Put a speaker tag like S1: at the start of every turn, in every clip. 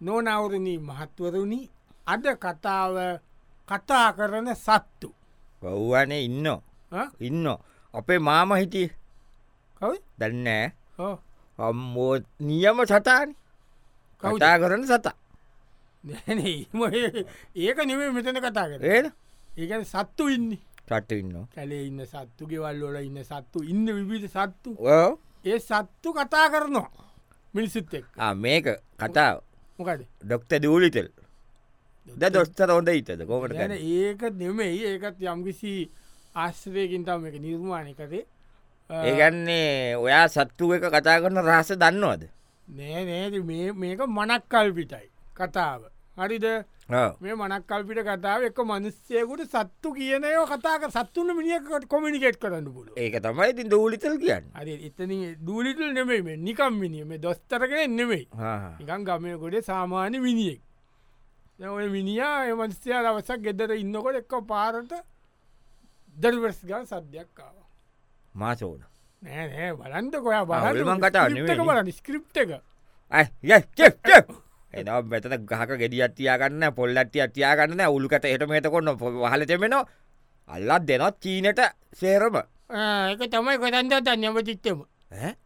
S1: නොනවරණී මහත්වරුණි අද කතාව කතා කරන සත්තු
S2: ඔව්වනේ ඉන්න
S1: ඈ?
S2: ඉන්න අපේ මාම හිටිය
S1: කවි
S2: දන්නෑ අම්මෝ නියම සතාන
S1: කවුද?
S2: කතා කරන සතා
S1: ඒක නෙවේ මෙතන කතා කර
S2: ඒන
S1: ඒකන සත්තු ඉන්න
S2: සට්ට ඉන්න
S1: කැලේ ඉන්න සත්තු ගෙවල් වල ඉන්න සත්තු ඉන්න විවිධ සත්තු
S2: ඕ
S1: ඒ සත්තු කතා කරනවා මිනිසිත් එක්
S2: මේක කතාව
S1: මොකද
S2: ඩොක්ට දූලිතෙල් ද දොස්තර හොඳ හිතද කොමට
S1: ගැන ඒක නෙමෙයි ඒකත් යම්කිසි ආශ්‍රයකින් තම එක නිර්මාණය කරේ අ,
S2: ඒගන්නේ ඔයා සත්තු එක කතා කරන රහස දන්නවාද
S1: නෑ නෑ මේ- මේක මනක් කල්පිටයි කතාව හරිද
S2: ඔව්.
S1: මේ මනක් කල්පිට කතාව එක මනුස්්‍යයකුට සත්තු කියනය කතාක සත්තුන්න මිනිියකට කොමිනිකෙට් කරන්න පුල
S2: ඒක තමයි ඉතින් දූලිතල් කියන්න
S1: අද එතන දූලිටල් නෙමෙයි මේ නිකම් මිනිියම දොස්තරගෙන නෙමෙයි නිකන් ගමයකොට සාමාන්‍ය මිනිියෙක් දැන් ඔය මිනිා එමන්ස්්‍යය දවසක් ගෙදර ඉන්නකොට එක්ක පාරට දර්වස් ගල් සද්‍යයක්කාව
S2: මාසෝන
S1: නෑ නෑ බලන්ද කොයා
S2: ආ,
S1: බල
S2: ඔල්මන් කතාව නෙමෙයි.
S1: බලන්න ස්ක්‍රප් එක
S2: එන මෙතන ගහක ගෙඩිය අත්තියාගන්න පොල්ලට්ටිය අත්තියාගන්න උළුකට එටම හතකොන්න හලතමෙනවා අල්ලත් දෙනොත් චීනට සේරම
S1: ආ, ඒක තමයි කොතන්ද තන්නම චිත්තම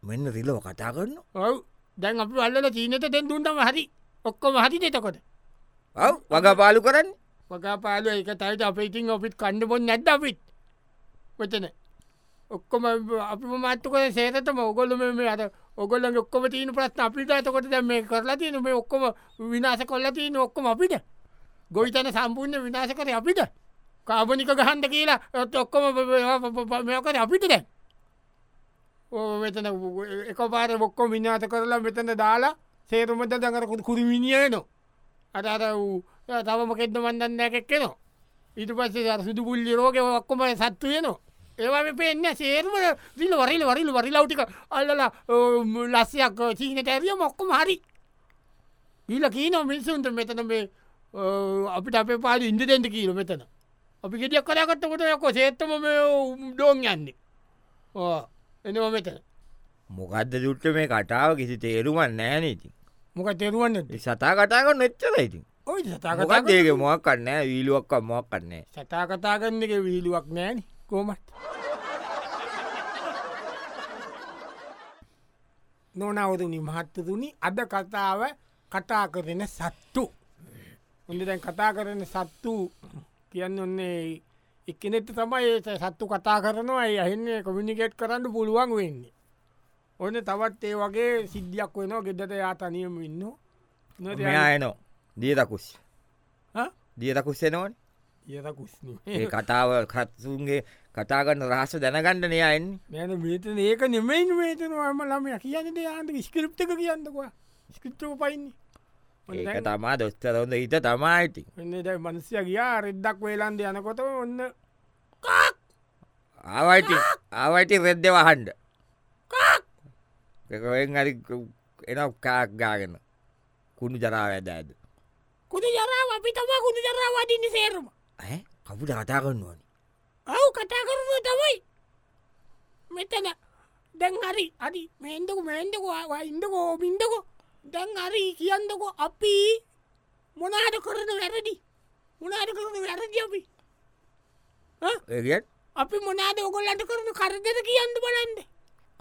S2: මෙන්න රිලෝ කතා කරන්න
S1: ඔව් දැන් අපි අල්ල චීනත තැන් දුන්ටම හරි ඔක්කොම හරි දෙතකොට
S2: ඔව වගපාලු කරන්න
S1: වකාපාල එක තයිට අප ඉතින් ඔපිත් කණ්ඩ පොන් නැද අපිත් වචන ඔක්කොම අපි මත්තුක සේතම ඔගොල්ල මේ අද ඔගොල්ල ඔක්කොම තිීන ප්‍රස්න අපිට ඇතකොට දැ මේ කරලා තියන මේ ඔක්කොම විනාස කොල්ලා තියන ඔක්කොම අපිට ගොවිතන සම්පූර්ණ විනාශ කර අපිට කාබනික ගහන්ඩ කියලා ඔත් ඔක්කොම මෙකර අපිට දැන් ඕ මෙතන එක පාර බොක්කො විනාත කරලා මෙතන දාලා සේරුමට දකරකුට කුරිමිනිියය නවා අර අර වූ තවම කෙද මන්දන්න එකක්කෙනවා ඊට පස්සේ අර සුදු පුල්ලි රෝග ඔක්කොම සත්තුයනවා ඒවා පෙන්න්න සේර්ම දිල වරිල වරිල වරිලවටික අල්ලලා ඔව් ලස්සයක් චීන තැරිය මොක්කොම හරි ඊල කීන මිනිසුන්ට මෙතන මේ ඔව් අපිට අපේ පාල ඉන්දදෙන්ට කියීල මෙතන අපි ගෙටියක් කරගත්තකොට යකො සේත්තම මේ ඩෝන් යන්නේ ඕ එනවා මෙතන
S2: මොකක්ද දුට්ට මේ කටාව කිසි තේරුමන් නෑනීති
S1: මොක තෙරුවන්න
S2: සතා කතා කරන්න එච්චර ඉතින්
S1: ඔයි සතාකතා
S2: මොකක්දේක මොක් කන්නෑ වීලුවක්ක මොක් කන්නේ
S1: සතා කතා කරන්න එක විහිලුවක් නෑන කෝමට නොනවරුණි මහත්තතුනි අද කතාව කතා කරන සත්තු උඳ දැන් කතා කරන සත්තු කියන්න ඔන්නේ එකනෙට තමයි ඒ සත්තු කතා කරනවා ඒ අහින්නේ කොමිනිිකෙට් කරන්න පුළුවන් වෙන්නේ ඔන්න තවත් ඒ වගේ සිද්ධියක් වෙනවා ගෙදට යා තනියම ඉන්න
S2: මෙයායනෝ දියතකුස් දියතකුස්සෙනවන්
S1: යත කුස්න
S2: ඒ කතාව කත්සුන්ගේ කතාගන්න රහස දැනගණ්ඩ නයන්
S1: මෙන මේතන ඒක නෙමයින් මේතනවාම ළමය කියන්න යාන්ට ස්කෘප්ක කියන්නකවා ස්කෘප්ක
S2: ඒක
S1: පයින්නේ
S2: තමා දොස්තරොඳ හිත තමායිති
S1: එන්නදයි මනසිය ගියා රෙද්දක් වේලාන්ද යනකොට ඔන්න
S2: ආවයිති ආවයිති රෙද්ද වහන්ඩ එකෙන් අරි එන කාක්ගාගෙන කුණු ජරාව ඇද ඇද
S1: කුද ජරාව අපි තම කුද ජරාවාදන්න සේරුම
S2: කපුට කතා කරන්නුවන
S1: ඔවු කතා කරුව තමයි මෙතන දැන් හරි අඩි මේන්දකු මේන්දකවා ඉන්දකෝ බින්දකෝ දැන් හරි කියන්නකො අපි මොනාට කරන වැරදි මොනාට කරන වැරදි අපි
S2: ඒත්
S1: අපි මොනාද ඔගොල්ලට කරන කරදර කියන්න බලන්ද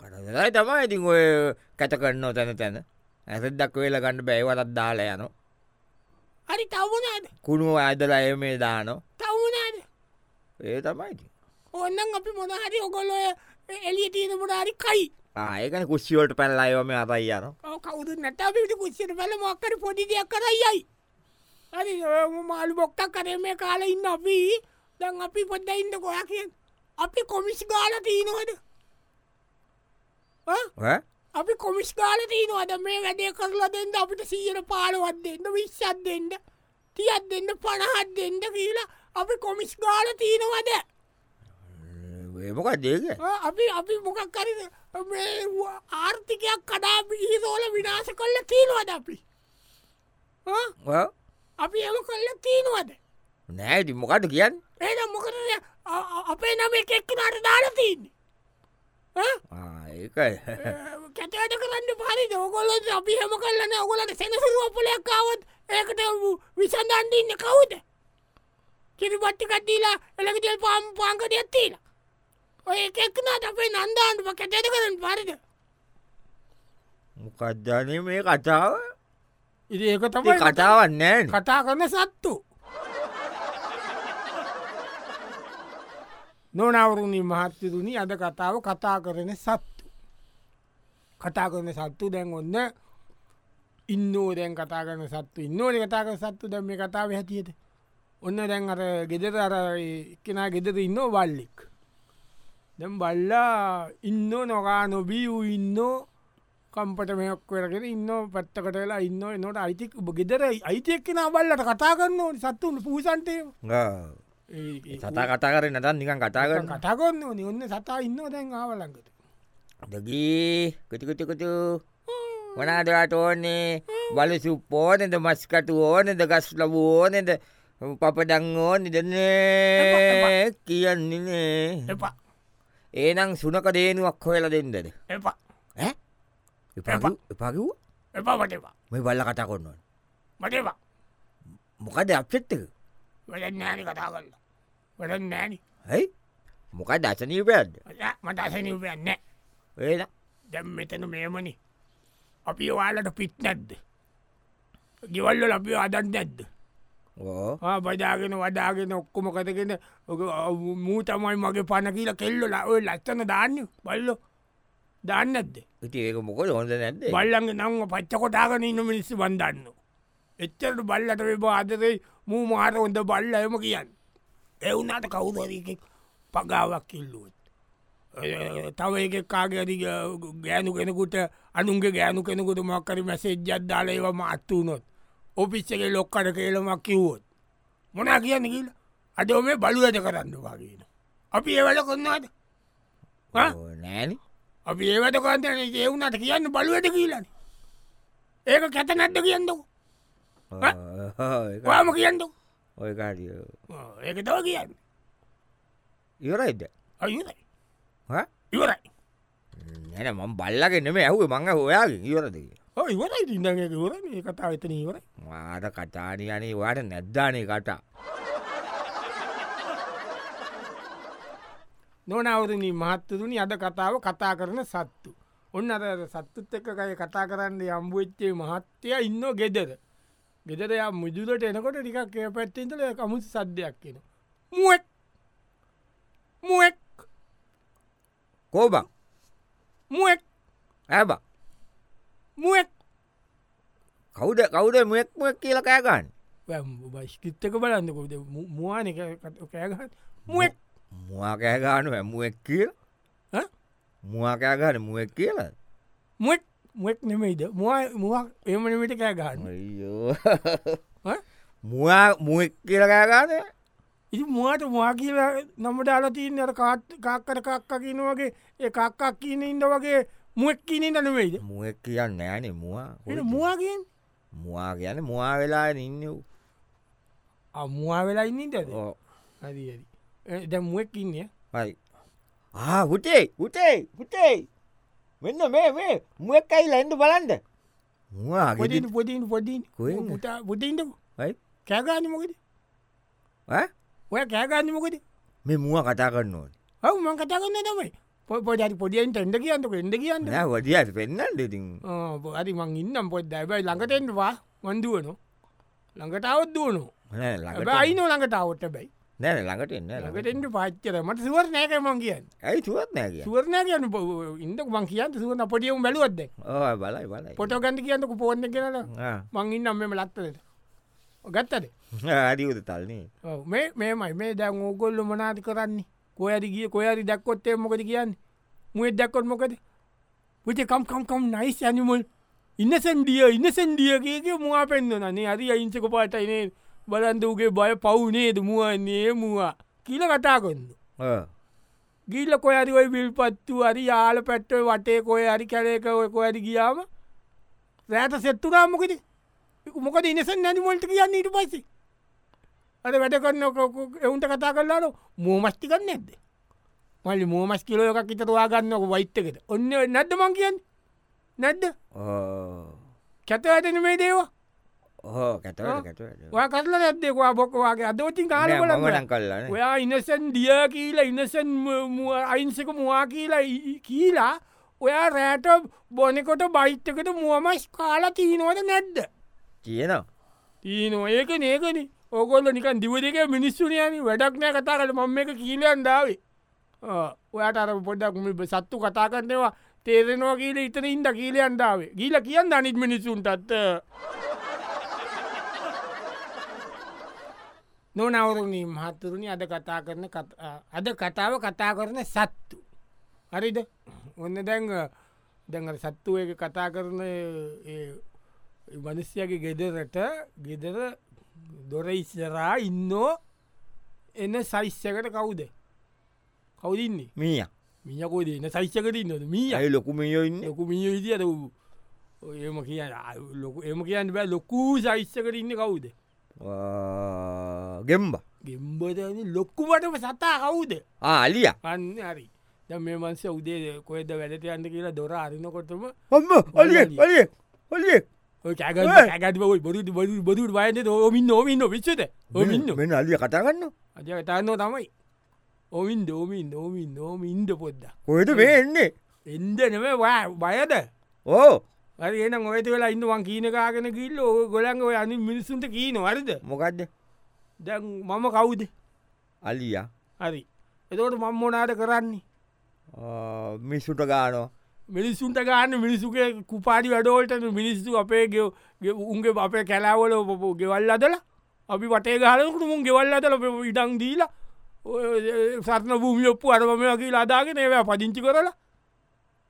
S2: කටදයි තමයි ඉතින් ඔය කැත කරන්නෝ තැන තැන ඇසදක් වෙල ගණඩ බැයිවලත් දාලා යන
S1: හරි තවුණද
S2: කුණුව ඇදලා එ මේ දානො
S1: තවුණද
S2: ඒ තමයි
S1: ඔන්නන් අපි මොනහරි ඔගොල්ලොය එලිය තියෙන මොනාරි කයි
S2: ආයකන කුස්සිියෝට පැල්ලා අයවම අතයි යන
S1: ඔව් කවුරු නැත අපිට කුච්චට බල මොක්කර පොඩි දෙයක් කරයියි හරි ඔය මාළු බොක්කක් කරේ මේ කාල ඉන්න අපි දැන් අපි පොඩ්ඩයින්න ගොයා කියෙන් අපි කොමිස් ගාල තියනවද අපි කොමිස් ගාල තියනවද මේ වැඩේ කරලා දෙන්න අපිට සීර පාලවත් දෙන්න විශ්ෂත් දෙන්න තියත් දෙන්න පණහත් දෙන්න කියලා අපි කොමිස් ගාල තියනවද
S2: ඒමොකක් දේක
S1: ආ, අපි අපි මොකක් කරිද මේ ව- ආර්ථිකයක් කඩා පිහිසෝල විනාශ කොල්ල තියනවද අපි ආ? අපි එම කොල්ල තියනවද
S2: නෑති මොකට කියන්න
S1: ඒනම් මොකද අපේ නම එකෙක්කනට දාලතින්නේ
S2: ඒක
S1: Eh. කැටට කරන්න පරි දෝකොල අපි හම කරලන්න ඔගොලට සෙනසුරුවපලයක් කාවත් ඒකට විසඳන්ඩන්න කවුද කිරිපට්ටි කටීලා එළකටල් පාම් පාංකට ඇත්තිලා ඔය එකක්නට අපේ නන්දාන්ටම කැටට කරන්න පරිද
S2: මොකක්ධන මේ කතාව
S1: ඉ ඒක තමයි
S2: කතාවන්නෑ
S1: කතා කරන සත්තු නොනවරුණි මහත්තතුනි අද කතාව කතා කරන සත්තු කතා කරන සත්තු දැන් ඔන්න ඉන්නෝ දැන් කතා කරන සත්තු ඉන්නෝන කතා කර සත්තු දැම් මේ කතාව හැටියට ඔන්න දැන් අර ගෙදර අර කෙනා ගෙදර ඉන්න බල්ලෙක් දැම් බල්ලා ඉන්න නොකා නොබී වූ ඉන්නෝ කම්පට මෙයක් කරගෙන ඉන්න පැත්තකට වෙලා ඉන්න නොට අයිතික් ගෙදර අයිතියක් කෙන බල්ලට කතා කරන්න ඕන සත්තුන් පූසන්ටය
S2: සතා කතා කරන්න නතන් නිකන් කතා කරන්න
S1: කටගන්න ඕනි ඔන්න සතා ඉන්න දැන් ආවලඟට
S2: දගී කටිකටිකතු වනාදරට ඕන්නේ වල සුප්පෝනෙද මස්කට ඕනෙද ගස් ලබ ඕනෙද පපඩං ඕන නිදන්නේ කියන්නේනේ
S1: එපා
S2: ඒනම් සුනක දේනුවක් හොයල දෙන්නද
S1: එපා
S2: එපාකිව්
S1: එපා වටවා
S2: මේ බල්ල කතා කොන්නවන්
S1: වටවා
S2: මොකද අප්සෙත්තක
S1: වැඩ නෑන කතා කරන්න වැඩ නෑන
S2: ඇයි මොකක් දසනීපයක්ද
S1: මට අසනිවයන්න
S2: ඒලා
S1: දැම් මෙතන මේමනි අපි ඔයාලට පිත් නැද්ද ගෙවල්ල ලබිය අදන් නැද්ද
S2: ඕ
S1: බජාගෙන වදාගෙන ඔක්කොම කතගෙන මූ තමයි මගේ පණ කියලා කෙල්ලොල ඔය ලස්සන දාන්න බල්ලො දන්නද
S2: ඉති ඒක මොකද හොඳ නැද්ද
S1: බල්ලන්ගේ නංව පච්චකොටාගෙන ඉන්න මිනිස්සු බන්දන්න. එච්චරට බල්ලට වෙබා අදරෙයි මූ මාර හොඳ බල්ල එම කියන්න. එවුනාට කවුදරක පගාවක් කිල්ලුවත්. තව එක කාගරි ගෑනු කෙනෙකුට අනුන්ගේ ගෑනු කෙනෙකුට මක්කරි මැසේජ්ජත් දාලේවම අත්තුනොත්. ඔපිස්සගේ ලොක්කට කේලමක් කිව්වොත්. මොනා කියන්න කියල අද ඔමේ බලු ඇත කරන්න වගේන. අපි ඒවල කොන්නාද ආ?
S2: නෑන
S1: අපි ඒවට කන්ත ඒවුනට කියන්න බලුවට කියලන ඒක කැත නැද්ද කියන්නක වාම කියන්නක
S2: ඔය කාරිය
S1: ඒක තව කියන්න
S2: ඉවරයිද
S1: අයුරයි
S2: හ?
S1: ඉවරයි
S2: නැන මම් බල්ලගෙනම ඇහුව මංග ඔයාගේ ඉවරද
S1: ඕ ඉවරයි ඉඳගේ ඉවර ඒ කතා එතන ඉවරයි
S2: මාට කතානයනේ වාට නැද්ධානය කටා
S1: නොනවරණ මහත්තතුනි අද කතාව කතා කරන සත්තු ඔන්න අද සත්තුත් එක්ක කය කතා කරන්න යම්බුච්චේ මහත්තය ඉන්න ගෙදර ගෙදරයා මුදුලට එනකොට ටිකක් ඒ පැත්තෙන්තල කමුත් සද්ධයක් කියෙන මුවක් මුවක්
S2: කෝබක්
S1: මුවක්
S2: ඇබ
S1: මුවක්
S2: කවුද කවුද මෙක්මක් කියල කෑගන්න
S1: ස්කිිත්තක බලන්නකොද මවාන කෑගහන් මුවක්
S2: මවා කෑගානු ඇමුවක් කිය
S1: ඈ?
S2: මවා කෑගන මුවක් කියලා
S1: මුවක් මුවක් නෙමයිද මවා මුවක් එමනමට කෑගන්න
S2: අයියෝ. මුවා මුවක් කියල කෑගාන
S1: ඉති මවාට මවා කියල නම්මට අලතිීන් අර කාත් කක්කට කක්ක කියන වගේ ඒ කක්කක් කියන ඉන්ද වගේ මුවක් කියනෙ දනවෙයිද
S2: මුවක් කියන්න ෑනේ මවා
S1: මවාගෙන්
S2: මවා කියන මවා වෙලා ඉන්න
S1: අමවා වෙලා ඉන්නද හරි ද මුවක් ඉන්නේ
S2: හයි ආ හුටේ හුටේ හුටේ මෙන්න මේ මේ මුවක් අයි ලැන්ඩ බලන්ද මවා
S1: පොතින් පොතින් පොතින්
S2: කොහෙන්ද?
S1: පුතා පොතින්ට
S2: ඇයි?
S1: කෑගාන්න මොකද ඔය කෑගාන්න මොකද
S2: මේ මුව කතා කරන්නවා
S1: හව මං කතා කන්න තමයි පො පොජරි පොඩියෙන් ටෙන්ඩ කියන්නක එඩ කියන්න
S2: නෑ වඩියට පෙන්න්න දෙතින්
S1: අරි මං ඉන්නම් පොත් දැබයි ළඟටෙන්වා වන්දුවනො ළඟටාවත් දුවනු
S2: නෑ
S1: බයින ළඟටාවට බැයි
S2: ළඟට එන්න ළඟට
S1: ළඟටෙන්ට පාච්චර මට සුවර නෑක මං කියන්න
S2: ඇයි තුවත් නෑ කිය
S1: සුවරණය කියන්න ඉන්ද මං කියන්න සුවන පොඩියම් බැලුවත්ද
S2: ඕ බලයි බලයි
S1: පොට ගන්ඩ කියන්නක පෝන්න කියල
S2: ආ.
S1: මං ඉන්නම් මෙම ලත්තද ගත්තද
S2: අඩියුද තල්න්නේ
S1: ඔව්. මේ මේමයි මේ දැන් ඕගොල්ල මනාති කරන්නේ කොයරි ගිය කොයරි දක්කොත්තේ මොකද කියන්න මුේ දක්කොත් මොකද පුචකම්කම්කම් නයිස් ඇනිමල් ඉන්නසන්ඩිය ඉන්නසන්ඩියගේගේ මවා පෙන්න්න නේ අරි අයිංසක පාටයිනේ බලන්දූගේ බය පවුනේද මුවන්නේ මවා කියල කතාකොන්න ගිල්ල කොයරිවයි විල් පත්තු අරි යාල පැට්ටව වටේ කොය අරි කැරේක ඔය කොයරි ගියාම රෑත සෙත්තුනා මොකද මොකද ඉනිසන් නැනිමොල්ට කියන්න ඉට පස්සේ අද වැඩ කරන්න එවුන්ට කතා කරලාන මූමස්ටි කරන්න ඇද මල්ලි මෝමස් කිලෝයකක් ඉතරවා ගන්නක වෛත්්‍යකට ඔන්න නැද්ද මං කියන් නැද්ද කැත ඇතන මේ දේවා
S2: ඕහෝ කැත
S1: ආ. ඔය කරල නැද්දෙකවා බොකවාගේ අදෝතින් කාලවල
S2: මගනන් කල්ලන
S1: ඔයා ඉනසන් දිය කියලා ඉනසන් අයින්සක මවා කියලා යි- යි- කියලා ඔයා රෑට බොනකොට බයිත්තකට මුවමස් කාලා තිීනවද නැද්ද
S2: කියනවා
S1: තියනවා ඒක නේකන ඕකොල්ල නිකන් දිවදක මිනිස්සුනයන වැඩක් නෑ කතා කට මම එක කියීලයන් දාවේ ආ, ඔයාට අර පොඩක් මේ සත්තු කතා කරනවා තේරෙනවා කියල ඉතන ඉන්ද කියීලයන් දාවේ ගීල කියන්න අනිත් මිනිසුන්ටත් නොනවරුණී මහත්තුරුණි අද කතා කරන කත- ආ, අද කතාව කතා කරන සත්තු හරිද ඔන්න දැන් දැඟ සත්තුව එක කතා කරන ඒ මනුස්්‍යයගේ ගෙදරට ගෙදර දොර ඉස්සරා ඉන්නෝ එන්න සයිස්්‍යකට කවුද කවුදන්නේ
S2: මීය
S1: මියකෝද එන්න සයිස්්‍යකට ඉන්නද මීය
S2: ඇයි ලොකුමියෝ ඉන්න
S1: ලොකු මිය විදිහට වූ එම කිය ලොක එම කියන්න බෑ ලොකූ සයිස්්‍යකට ඉන්න කවුද
S2: ගෙම්බ
S1: ගෙම්බදන ලොක්කුමටම සතා කවුද
S2: ආලිය
S1: අන්න හරි දැන් මේ මන්ස උදේ කොයද වැඩට යන්න කියලා දොර අරිනකොටම
S2: හොම
S1: ඔලියෙක්,
S2: ඔලිය ඔලිය ඔය!
S1: කැගත් බයි බොරු බොරු බොදුට බයන්න ඕමින් ඕමින්න විච්චත ඕමින්න
S2: මෙ අලිය කතාගන්න
S1: අද තන්නෝ තමයි ඔවින් දෝමින් නෝමින් නෝම ඉන්ඩ පොද්ද
S2: කොයද මේ එන්නේ
S1: එන්ද නම බයද
S2: ඕ
S1: හරි එන ඔයත වෙලා ඉන්නවන් කීනකාගෙන කිල්ල ඕ ගොලන් ඔය අනි මිනිසුන්ට කීන වරද
S2: මොකක්ද
S1: දැන් මම කවුද
S2: අලිය
S1: හරි එතකොට මම්මෝනාට කරන්නේ
S2: මිස්සුට ගානෝ
S1: මිනිස්සුන්ට ගන්න මිනිසුගේ කුපාඩි වැඩෝල්ට මිනිස්සු අපේ ගෙව- ගෙ- උන්ගේ අපේ කැලාවල පොපෝ ගෙවල් අදල අපි වටේ ගහලකට මුන් ගෙවල් අදල ඉඩං දීලා ඔය සත්න භූමි ඔප්පු අරමමයකි ලාදාගෙන ඒවැ පදිංචි කරලා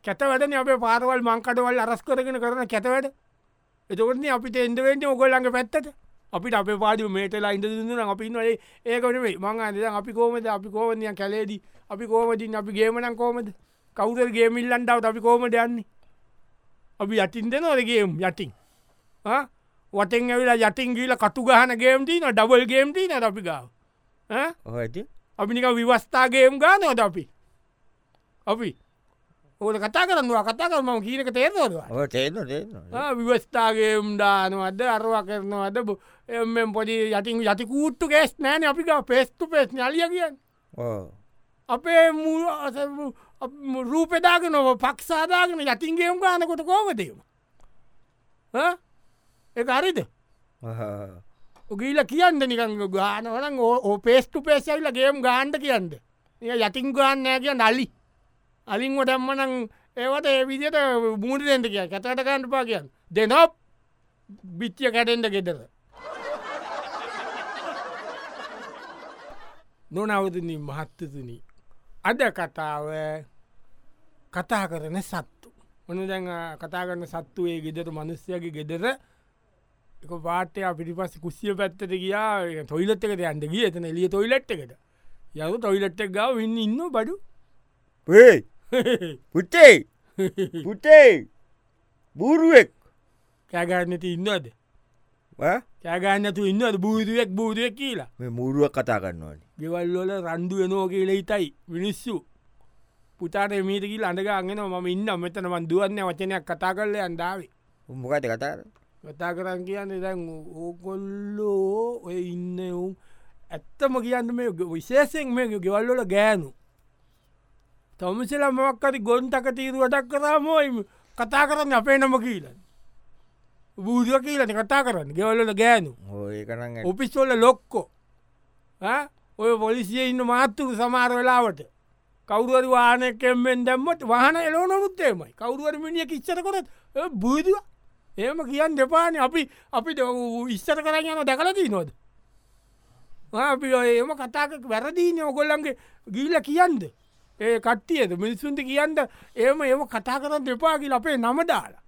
S1: කැතවැටන අපේ පාරවල් මංකටවල් අරස් කරගෙන කරන කැතවැට එතකොටන අපිට එන්ඩවෙන්ට ඔගොල්ලඟ පැත්තට අපිට අප පාඩි මේටලා ඉඳ දුන්න අපින් වලේ ඒකනේ මං අද අපි කෝමද අපි කෝමදය කැලේදී අපි කෝමදින් අපි ගේමනම් කෝමද කවුදර ගේමිල්ලන්ටාව අපි කෝමට යන්නේ අපි යටින් දෙන ඔරගේම් යටින් ආ? වටෙන් ඇවිලා යටින් ගීල කටු ගහන ගේම්ටී න ඩබල් ගේම්ටී න අපි ගාව ආ?
S2: ඔහඇති
S1: අපි නික විවස්ථාගේම් ගානෝද අපි අපි ඕට කතා කරන්නවා කතා කරම කියීනක තේරවා
S2: ඔ තේන තේන
S1: විවස්ථාගේම් දානවද අරවා කරනවද එම පොඩි යතින් යති කූට්ටු ගේෙස් නෑන අපික පෙස්තු පෙස් නලිය කියන්
S2: ඕ
S1: අපේ රූපෙදාග නොව පක්ෂාදාගෙන යතින්ගේම් ගානකොට කෝමතීම එක හරිද ගීල කියන්න නිකං ගානවන ඕ පේස්ටු පේසල්ල ගේම් ගාන්ඩ කියන්න ඒ යතින් ගාන්නෑ කිය නලි අලින් ොටම්මනං ඒවට ඒ විදියට බූඩිදෙන්ට කිය කතට ගන්නපා කියන්න දෙනොප් බිච්චිය කැටෙන්ට ගෙටර නොනවතින මහත්තතුනි අද කතාව කතා කරන සත්තු මොන දැන් ආ, කතා කරන සත්තු ඒ ගෙදර මනුස්්‍යයගේ ගෙදර එක පාටය පිටිපස්ස කුස්සිය පැත්තට ගියා තොයිලත් එකට යන්ට ගිය එතන එලිය තොයිලට් එකට යව තොයිලට් එක ගාව ඉන්න ඉන්න බඩු
S2: පේ පුට්ටේ පුටේ බූරුවෙක්
S1: කෑගන්නති ඉන්නද කෑගන්නතු ඉන්නද බූදුවෙක් බූදුවක් කියලා
S2: මේ මුරුවක් කතා කරන්නවාන
S1: ගෙවල්ලොල රන්දු වෙනෝ කියල හිතයි මිනිස්සු පුතාට මීටකිල් අඳගගෙන ම ඉන්න මෙතන වන්දුවන්න වචනයක් කතා කරල අන්ඩාවේ
S2: උම්මකත කතාර
S1: කතා කරන්න කියන්න දැන් ඕකොල්ලෝ ඔය ඉන්න ඔවුන් ඇත්තම කියන්න මේ ග- විශේෂෙන් මේ ගෙවල්ලොල ගෑනු තොමසල මොක්කරි ගොන්ටක තීරුවටක් කරාම ඔය කතා කරන්න අපේ නම කියීලන්න බූදුව කියලන කතා කරන්න ගෙවල්ලොල ගෑනු
S2: ඒකන
S1: ඔපිස්සොල්ල ලොක්කෝ ඈ? ඔය පොලිසිය ඉන්න මාත්තුරු සමාර වෙලාවට කවරුවර වානකෙන්ෙන් දැම්මට වාහන එලෝනොමුත්තේමයි කවරුවර මිනිිය කිච්චර කොත් බුදුව ඒම කියන්න දෙපාන අපි අපි ඉස්සර කරන්න යන දැකලදී නොද අපි ඔය එම කතාක වැරදිීනය ඔකොල්ලන්ගේ ගීල කියන්ද ඒ කට්ටියද මිනිස්සුන්ට කියන්ද ඒම ඒම කතා කරන්න දෙපාකිල අපේ නම දාලා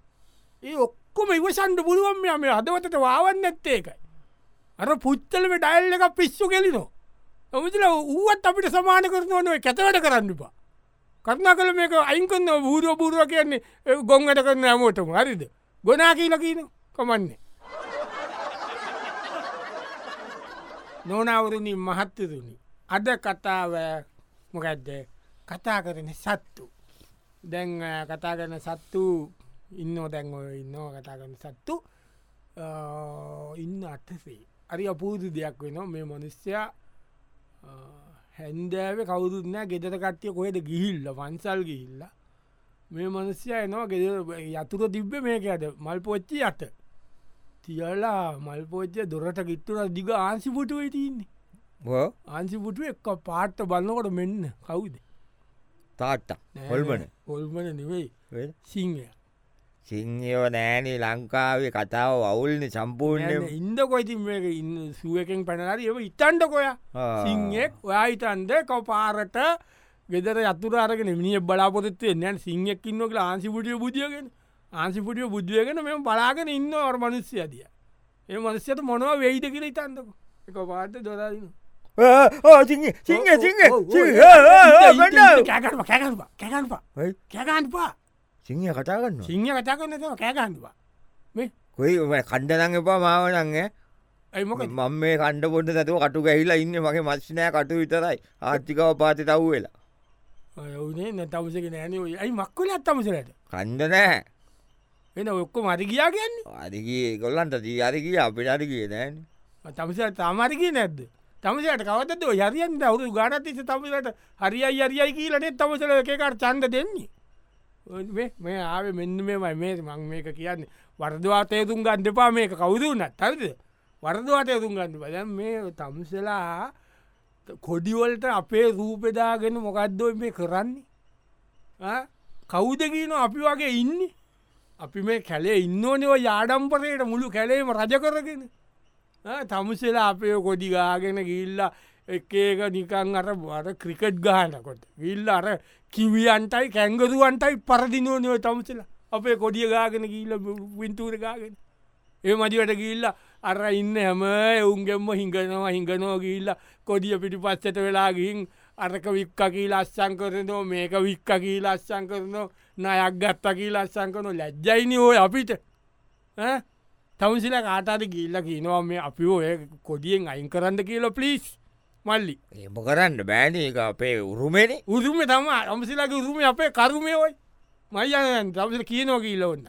S1: ඒ ඔක්කොම ඉවසන්ඩ පුළුවන් මෙයා මේ හදවතට වාවන්න ඇත්තේකයි අර පුච්චලම ඩයිල් එක පිස්සු කෙලිනෝ ඔමචල ඌුවත් අපිට සමාන කරන නොව කැතවට කරන්නපා කරුණා කළ මේක අයින්කන්න බූරුව පුරුව කියන්නේ ඒ ගොංගට කරන්න ඇමෝටම හරිද ගොනා කියලකීන කොමන්නේ නොනවරණින් මහත්තතුනි අද කතාව මොකැද්ද කතා කරන සත්තු දැන් අ, කතා කරන සත්තු ඉන්න දැන් ඔය ඉන්නව කතා කරන සත්තු අ, ඉන්න අටසේ අරි අපූදු දෙයක් වෙනවා මේ මනුස්්‍යයා හැන්දෑව කවුදුන්න ගෙදර කට්ටිය කොහෙද ගිහිල්ල වන්සල් ගිහිල්ල මේ මනුස්්‍යය එනවා ගෙද යතුර තිබ්බ මේක ඇද මල් පොච්චි ඇත තියලා මල් පෝච්චය දොරට ගිත්තුර දිග ආන්සිපුටුවේ තින්නේ
S2: හෝ
S1: ආන්සිපුටුව එක් පාට්ට බලන්නකොට මෙන්න කවුද
S2: තාත්තා හොල්බන
S1: හොල්මන නෙවෙයි සිංහය
S2: සිංහයෝ නෑනේ ලංකාවේ කතාව අවුල්න සම්පූර්ණය
S1: ඉන්ද කොයිති මේක ඉන්න සුවකෙන් පැනලාර ඒ ඉතන්ඩ කොයා සිංහෙක් ඔයාහිතන්ද කවපාරට ගෙදර යතුරාරගෙන මිනිිය බලාපොතත්වේ නැන් සිංහක් ඉන්නක ආන්සිපුටිය බුදියගෙන ආන්සිපුටිය බුද්ධියගෙන මෙම බලාගෙන ඉන්න ඔර මනුස්්‍ය අදිය ඒ මනුස්්‍යයට මොනව වෙයිද කියල ඉතන්දක එක පාට දොරන්න
S2: සිංහ සිංහ සිංහ
S1: කෑකරම කැකල්පා කැකන්පා කැකන්පා
S2: සිංහ කතාගන්න
S1: සිංහ කතා කරන්න කෑකන්වා මේ
S2: කොයි කණ්ඩනං එපා මාවනංය
S1: ඇයිමොක
S2: මම මේ කණ්ඩ පොඩ තතුව කටු ගැහිලා ඉන්න මගේ මස්්නෑ කටු විතරයි ආර්ථිකව පාති තව් වෙලා
S1: ඔවනේ නැතවසක නෑන යි මක්කල අත්තමසලට
S2: කණ්ඩ නෑ
S1: එන ඔක්කො මරි කියා කියන්නේ
S2: අරිගේ ගොල්ලන්ට දී අරිගේ අපිට අරිගේ නෑන
S1: තමසට තාමරිකය නැද්ද තමසට කවතද යරියන් අවුරු ගානතිස තමසට හරියි අරියයි කියලනේ තමසල එකකට චන්ද දෙන්නේ ඔය මේ- මේ ආව මෙන්න මේමයි මේ මං මේක කියන්න වර්දවාතයතුන් ගන්ඩපා මේක කවුදුනත් හරිද වර්දවාතයතුන් ගන්න බද මේ තම්සලා කොඩිවලට අපේ රූපෙදාගෙන මොකක්දෝ මේ කරන්නේ ආ? කවුද කියන අපි වගේ ඉන්න අපි මේ කැලේ ඉන්නෝනව යාඩම්පරයට මුළු කැලේම රජ කරගෙන තමුසෙලා අපේ කොඩි ගාගෙන ගිල්ලා එක ඒක නිකං අර බර ක්‍රිකට් ගානකොට ගිල්ල අර කිවියන්ටයි කැංගරුවන්ටයි පරදිනෝනව තමුසලා අපේ කොඩිය ගාගෙන ගිල්ල විින්තූර ගාගෙන ඒ මදිවට ගිල්ල අර ඉන්න හැම එවුන්ගෙම හිඟනවා හිඟනෝ ගිල්ල කොඩිය පිටි පස්සට වෙලාගින් අරක වික්කකී ලස්සං කරනෝ මේක වික්කකී ලස්සං කරනෝ නයක් ගත්තකී ලස්සං කරනෝ ලැජ්ජයිනි ඕය අපිට තවසිල කාටාට ගිල්ල කියනවා මේ අපි ඔය කොඩියෙන් අයින් කරන්න කියල පලිස් මල්ලි
S2: එම කරන්න බෑන එක අපේ උරුමෙන
S1: උරුම තම අමසිලගේ උරුම අපේ කරුමයෝයි මයන් තවස කියනෝ කියීලවන්න